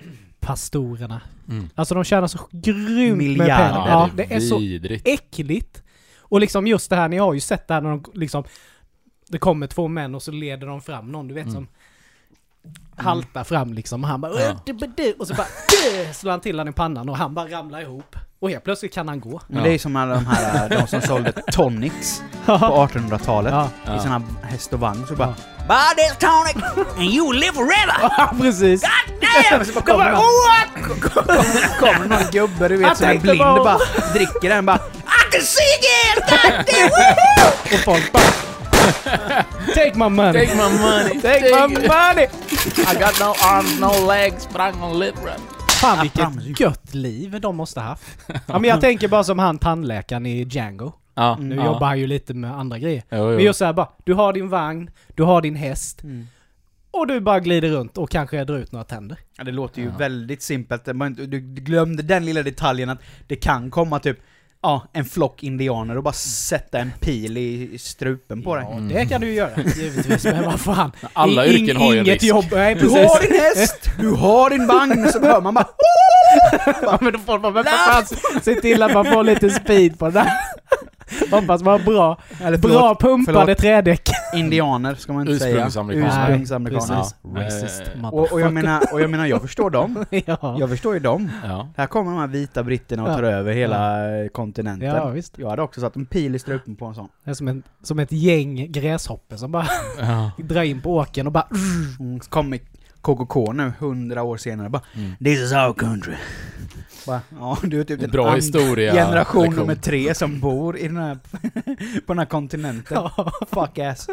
[SPEAKER 4] tv-pastorerna,
[SPEAKER 2] Mm.
[SPEAKER 4] alltså de tjänar så grymt med
[SPEAKER 1] Miljarder.
[SPEAKER 4] pengar. Ja, det är så
[SPEAKER 2] vidrigt.
[SPEAKER 4] äckligt. Och liksom just det här, ni har ju sett det här när de liksom, det kommer två män och så leder de fram någon, du vet som haltar fram liksom och han bara
[SPEAKER 2] Mm. Ja.
[SPEAKER 4] och så bara "Äh," slår han till han i pannan och han bara ramlar ihop. Och helt plötsligt kan han gå.
[SPEAKER 1] Men det är som alla de här, eh, de som sålde tonics på 1800-talet.
[SPEAKER 4] Ja.
[SPEAKER 1] I såna här häst och vagn. Så bara...
[SPEAKER 4] Ja.
[SPEAKER 1] Buy this tonic and you live forever!
[SPEAKER 4] Ja, precis.
[SPEAKER 1] Damn! Så bara kommer någon, kommer någon gubbe du vet
[SPEAKER 4] Jag
[SPEAKER 1] som är
[SPEAKER 4] tänkte
[SPEAKER 1] blind
[SPEAKER 4] bara-
[SPEAKER 1] och bara dricker den bara... I can see again! God damn!
[SPEAKER 4] Och folk bara Take my money!
[SPEAKER 2] Take my money!
[SPEAKER 4] Take my money!
[SPEAKER 2] I got no arms, no legs, but I'm gonna live right.
[SPEAKER 4] Fan
[SPEAKER 1] promise you.
[SPEAKER 4] vilket gött liv de måste haft. Ja, men jag tänker bara som han tandläkaren i Django.
[SPEAKER 2] Ja,
[SPEAKER 4] Nu
[SPEAKER 2] ja.
[SPEAKER 4] jobbar han ju lite med andra grejer.
[SPEAKER 2] Jo,
[SPEAKER 4] Men
[SPEAKER 2] jo.
[SPEAKER 4] just såhär bara, du har din vagn, du har din häst. Och du bara glider runt och kanske drar ut några tänder.
[SPEAKER 1] Ja, det låter ju väldigt simpelt. Det var inte- Du du glömde den lilla detaljen att det kan komma typ Ja, en flock indianer och bara sätta en pil i strupen på dig.
[SPEAKER 4] Ja, det kan du ju göra givetvis, men vad fan.
[SPEAKER 2] Mm. Alla
[SPEAKER 4] I-
[SPEAKER 2] yrken har ju en
[SPEAKER 4] Inget
[SPEAKER 2] risk.
[SPEAKER 4] jobb, nej
[SPEAKER 1] Du har
[SPEAKER 4] precis.
[SPEAKER 1] din häst! Du har din vagn! Så hör man bara...
[SPEAKER 4] Ja, men då får man väl för fan se till att man får lite speed på det där. Hoppas man har bra,
[SPEAKER 1] Eller
[SPEAKER 4] bra pumpade
[SPEAKER 1] förlåt.
[SPEAKER 4] trädäck.
[SPEAKER 2] Eh,
[SPEAKER 1] Indianer ska man inte
[SPEAKER 2] Ursprungsamerikaner.
[SPEAKER 1] säga. Ursprungsamerikaner.
[SPEAKER 2] Nej, precis.
[SPEAKER 1] Ja.
[SPEAKER 2] Ja. Eh,
[SPEAKER 1] Och, och, jag menar, och jag menar, jag förstår dem.
[SPEAKER 4] ja.
[SPEAKER 1] Jag förstår ju dem.
[SPEAKER 2] Ja.
[SPEAKER 1] Här kommer de här vita britterna och tar
[SPEAKER 4] Ja.
[SPEAKER 1] över hela eh, kontinenten.
[SPEAKER 4] ja, visst.
[SPEAKER 1] Jag hade också satt en pil i strupen på en sån.
[SPEAKER 4] Det är som, en, som ett gäng gräshoppor som bara
[SPEAKER 2] ja.
[SPEAKER 4] drar in på åkern och bara...
[SPEAKER 1] Mm, så kommer KKK nu, hundra år senare bara
[SPEAKER 2] Mm.
[SPEAKER 1] This is our country. Bara, ja, du är typ den
[SPEAKER 2] Bra
[SPEAKER 1] andra
[SPEAKER 2] historia.
[SPEAKER 1] generation
[SPEAKER 2] lektion.
[SPEAKER 1] nummer tre som bor i den här, på den här kontinenten. Fuck ass.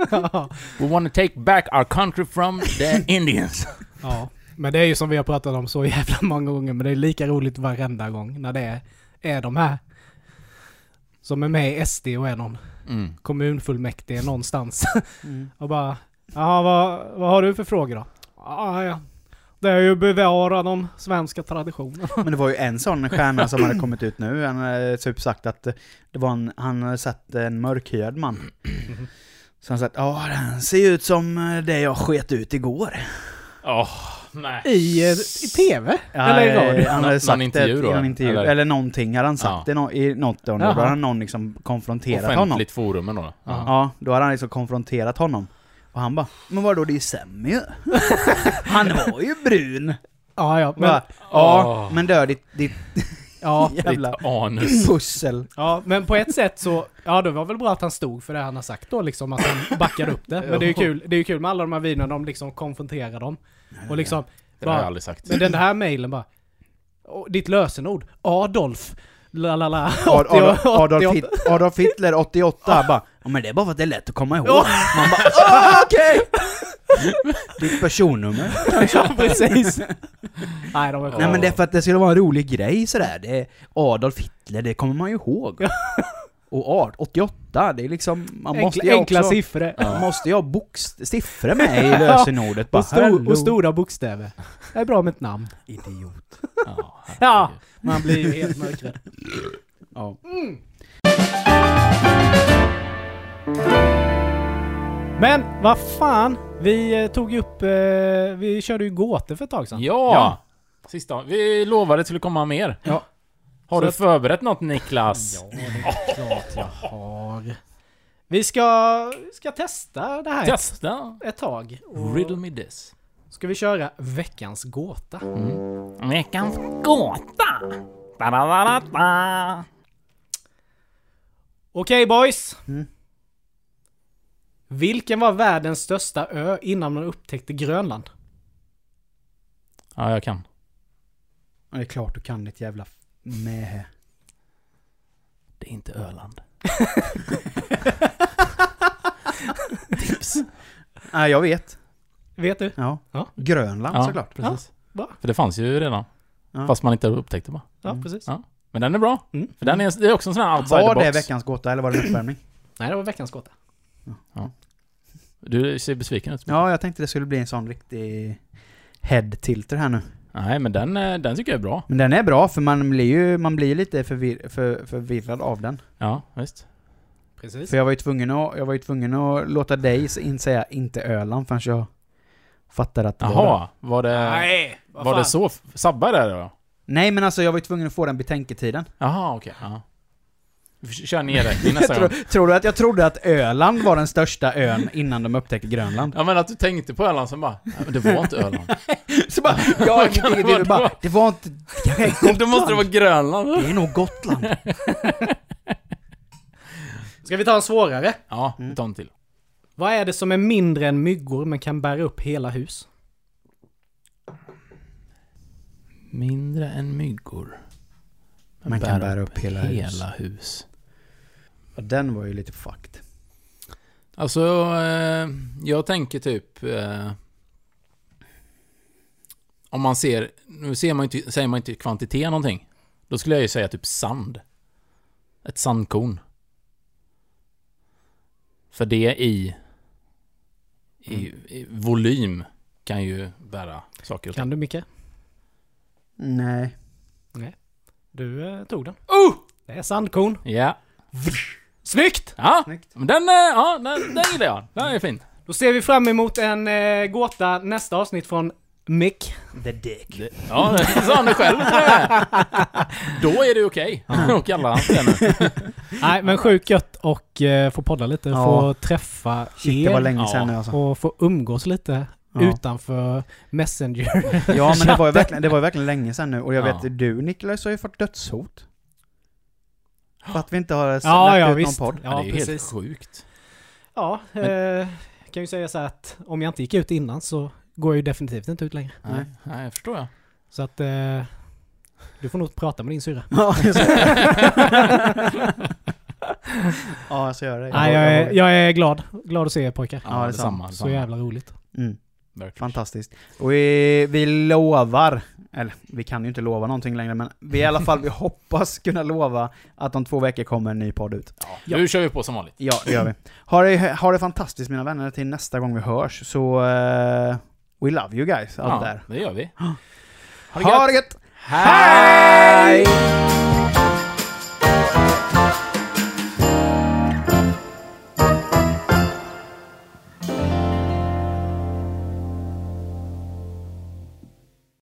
[SPEAKER 2] We wanna take back our country from the Indians.
[SPEAKER 4] Ja, men det är ju som vi har pratat om så jävla många gånger, men det är lika roligt varenda gång när det är, är de här som är med i SD och är någon
[SPEAKER 2] Mm.
[SPEAKER 4] kommunfullmäktige någonstans. Och bara, jaha vad, vad har du för frågor då? Ah, ja. Det är ju bevara de svenska traditionerna.
[SPEAKER 1] Men det var ju en sån stjärna som hade kommit ut nu, han hade typ sagt att eh, det var en, han hade sett en mörkhyad man. Så han sa att ja, den ser ju ut som eh, det jag sket ut igår.
[SPEAKER 2] Åh, nej.
[SPEAKER 4] I, eh, I TV?
[SPEAKER 1] Ja,
[SPEAKER 4] Eller i
[SPEAKER 1] eh,
[SPEAKER 4] radio?
[SPEAKER 1] Han hade
[SPEAKER 2] Någon
[SPEAKER 1] sagt det
[SPEAKER 2] intervju
[SPEAKER 1] i
[SPEAKER 2] då,
[SPEAKER 1] någon intervju, eller?
[SPEAKER 2] eller?
[SPEAKER 1] någonting hade han sagt
[SPEAKER 2] Ja.
[SPEAKER 1] i, no, i något och då
[SPEAKER 4] Jaha.
[SPEAKER 1] hade någon liksom konfronterat honom.
[SPEAKER 2] Offentligt forum ändå. Ja.
[SPEAKER 1] Ja, då hade han liksom konfronterat honom. Och han bara 'Men vadå, det är ju sämre ju." Han var ju brun!
[SPEAKER 4] Ja, ja. Men,
[SPEAKER 1] Bara, ja,
[SPEAKER 2] Åh.
[SPEAKER 1] men dö, ditt, ditt
[SPEAKER 4] ja.
[SPEAKER 1] jävla
[SPEAKER 2] Ditt anus.
[SPEAKER 1] pussel.
[SPEAKER 4] Ja, men på ett sätt så, ja det var väl bra att han stod för det han har sagt då liksom, att han backar upp det. Men det är ju kul, det är ju kul med alla de här vinerna, de liksom konfronterar dem. Och liksom,
[SPEAKER 2] Det har jag
[SPEAKER 4] bara,
[SPEAKER 2] aldrig sagt.
[SPEAKER 4] men den här mailen bara, och ditt lösenord, Adolf, la la la, 80
[SPEAKER 1] Ad- Ad- Adolf,
[SPEAKER 4] 88.
[SPEAKER 1] Hit- Adolf Hitler 88 bara ja, men det är bara för att det är lätt att komma ihåg. Man bara "Ah, okej! Ditt personnummer.
[SPEAKER 4] Ja, precis. Nej, de var
[SPEAKER 1] Nej
[SPEAKER 4] coola.
[SPEAKER 1] men det är för att det skulle vara en rolig grej sådär. Det är Adolf Hitler, det kommer man ju ihåg. Och art, 88, det är liksom... Man måste ju
[SPEAKER 4] Enkla, enkla
[SPEAKER 1] också,
[SPEAKER 4] siffror.
[SPEAKER 1] Man måste ju ha bokst- siffror med i lösenordet. Bara,
[SPEAKER 4] Och, stor,
[SPEAKER 1] "Hello."
[SPEAKER 4] och stora bokstäver. Det är bra med ett namn.
[SPEAKER 1] Idiot.
[SPEAKER 2] Ja, herregud.
[SPEAKER 4] Ja, man blir ju helt mörkrädd. Mm.
[SPEAKER 1] Ja.
[SPEAKER 4] Men vad fan, vi eh, tog ju upp, eh, vi körde ju gåtor för ett tag sedan.
[SPEAKER 2] ja! Sista. Vi lovade att det skulle komma mer.
[SPEAKER 1] Ja.
[SPEAKER 2] Har
[SPEAKER 4] Så
[SPEAKER 2] du
[SPEAKER 4] att-
[SPEAKER 2] förberett något Niklas?
[SPEAKER 4] Ja, det är klart jag har. Vi ska, vi ska testa det här
[SPEAKER 2] Testa!
[SPEAKER 4] ett tag. Och
[SPEAKER 2] Riddle me this.
[SPEAKER 4] Ska vi köra veckans gåta?
[SPEAKER 2] Veckans gåta! Da-da-da-da-da.
[SPEAKER 4] Okej boys!
[SPEAKER 1] Mm.
[SPEAKER 4] Vilken var världens största ö innan man upptäckte Grönland?
[SPEAKER 2] Ja, jag kan.
[SPEAKER 1] Ja, Det är klart du kan ditt jävla... Nej.
[SPEAKER 2] Det är inte Öland.
[SPEAKER 1] Nej, jag vet.
[SPEAKER 4] Vet du?
[SPEAKER 1] Ja.
[SPEAKER 4] Ja.
[SPEAKER 1] Grönland såklart.
[SPEAKER 2] precis.
[SPEAKER 4] bra.
[SPEAKER 2] För det fanns ju redan.
[SPEAKER 1] Ja.
[SPEAKER 2] Fast man inte upptäckte bara.
[SPEAKER 4] Ja,
[SPEAKER 1] Mm.
[SPEAKER 4] precis.
[SPEAKER 2] Ja. Men den är bra.
[SPEAKER 4] Mm.
[SPEAKER 2] För den är, det är också en sån här outside
[SPEAKER 1] Var
[SPEAKER 2] the
[SPEAKER 1] det
[SPEAKER 2] box.
[SPEAKER 1] veckans gåta eller var det en uppvärmning?
[SPEAKER 4] Nej, det var veckans gåta.
[SPEAKER 2] Du ser besviken ut.
[SPEAKER 1] Ja, jag tänkte det skulle bli en sån riktig head-tilter här nu.
[SPEAKER 2] Nej, men den, eh, den tycker jag är bra.
[SPEAKER 1] Men den är bra, för man blir ju man blir lite förvir- för, förvirrad av den.
[SPEAKER 2] Ja, visst.
[SPEAKER 4] Precis.
[SPEAKER 1] För jag var ju tvungen att, jag var ju tvungen att låta dig in säga inte Öland förrän jag fattade att det var det.
[SPEAKER 2] Jaha, var det...
[SPEAKER 4] Nej, vad
[SPEAKER 2] Var
[SPEAKER 4] fan.
[SPEAKER 2] det så? f- Sabba det då?
[SPEAKER 1] Nej men alltså jag var ju tvungen att få den betänketiden.
[SPEAKER 2] Jaha, okej. Ja. Vi förs- kör nedräkning
[SPEAKER 1] Jag
[SPEAKER 2] nästa
[SPEAKER 1] tror,
[SPEAKER 2] gång.
[SPEAKER 1] tror du att jag trodde att Öland var den största ön innan de upptäckte Grönland?
[SPEAKER 2] Ja men att du tänkte på Öland som bara, "Nej, men det var inte Öland.
[SPEAKER 1] Så bara, jag, det, det, det, bara, det var inte... Det är Gotland.
[SPEAKER 2] Då måste det vara Grönland.
[SPEAKER 1] Det är nog Gotland.
[SPEAKER 4] Ska vi ta en svårare?
[SPEAKER 2] Ja, vi
[SPEAKER 1] Mm.
[SPEAKER 2] tar en till.
[SPEAKER 4] Vad är det som är mindre än myggor men kan bära upp hela hus?
[SPEAKER 2] Mindre än myggor. Men
[SPEAKER 1] Man kan bära upp hela hus.
[SPEAKER 2] hus.
[SPEAKER 1] Ja, Den var ju lite fucked.
[SPEAKER 2] Alltså, eh, jag tänker typ... Eh, om man ser... Nu ser man inte, säger man inte kvantitet någonting. Då skulle jag ju säga typ sand. Ett sandkorn. För det i... I, i volym kan ju bära saker och ting.
[SPEAKER 4] Kan du Micke?
[SPEAKER 1] Nej.
[SPEAKER 4] Du eh, tog den. Oh! Det är sandkorn.
[SPEAKER 2] Ja.
[SPEAKER 4] Snyggt!
[SPEAKER 2] Ja,
[SPEAKER 1] Snyggt.
[SPEAKER 2] men den, eh, ja, den, den gillar jag. Den är fin.
[SPEAKER 4] Då ser vi fram emot en eh, gåta nästa avsnitt från Mick.
[SPEAKER 1] The dick.
[SPEAKER 2] Ja, det sa han själv. Då är det okej. Och alla hans vänner.
[SPEAKER 4] Nej, men sjukt gött och eh, få podda lite,
[SPEAKER 1] Ja.
[SPEAKER 4] få träffa
[SPEAKER 1] Shit, det var
[SPEAKER 4] er
[SPEAKER 1] länge sedan nu
[SPEAKER 2] Ja.
[SPEAKER 1] alltså.
[SPEAKER 4] och få umgås lite
[SPEAKER 1] Ja.
[SPEAKER 4] utanför Messenger.
[SPEAKER 1] Ja men det var ju verkligen, det var ju verkligen länge sedan nu och jag
[SPEAKER 2] Ja.
[SPEAKER 1] vet du Niklas har ju fått dödshot. För att vi inte har
[SPEAKER 4] ja,
[SPEAKER 1] lagt
[SPEAKER 4] ja,
[SPEAKER 1] ut
[SPEAKER 4] visst.
[SPEAKER 1] någon podd.
[SPEAKER 2] Ja,
[SPEAKER 4] Ja,
[SPEAKER 2] det är ju helt
[SPEAKER 4] precis.
[SPEAKER 2] sjukt.
[SPEAKER 4] Ja, eh, kan ju säga så här att om jag inte gick ut innan så går jag ju definitivt inte ut längre.
[SPEAKER 2] Nej, nej, jag förstår jag.
[SPEAKER 4] Så att eh, du får nog prata med din syrra.
[SPEAKER 1] Ja, just det. ja, så gör det.
[SPEAKER 4] Nej, jag är, jag är glad. Glad att se er pojkar.
[SPEAKER 1] Ja,
[SPEAKER 2] Ja,
[SPEAKER 1] detsamma,
[SPEAKER 2] detsamma.
[SPEAKER 4] Så
[SPEAKER 2] detsamma.
[SPEAKER 4] jävla roligt.
[SPEAKER 1] Mm.
[SPEAKER 2] Verkligen.
[SPEAKER 1] Fantastiskt. Och vi, vi lovar, eller vi kan ju inte lova någonting längre men vi i alla fall, vi hoppas kunna lova att om två veckor kommer en ny podd ut.
[SPEAKER 2] Nu kör vi på som vanligt.
[SPEAKER 1] Ja, det gör vi. Ha det, ha det fantastiskt mina vänner till nästa gång vi hörs, så eh, we love you guys out
[SPEAKER 2] ja,
[SPEAKER 1] there.
[SPEAKER 2] det gör vi.
[SPEAKER 1] Ha det gött!
[SPEAKER 2] Hej!
[SPEAKER 1] Hej!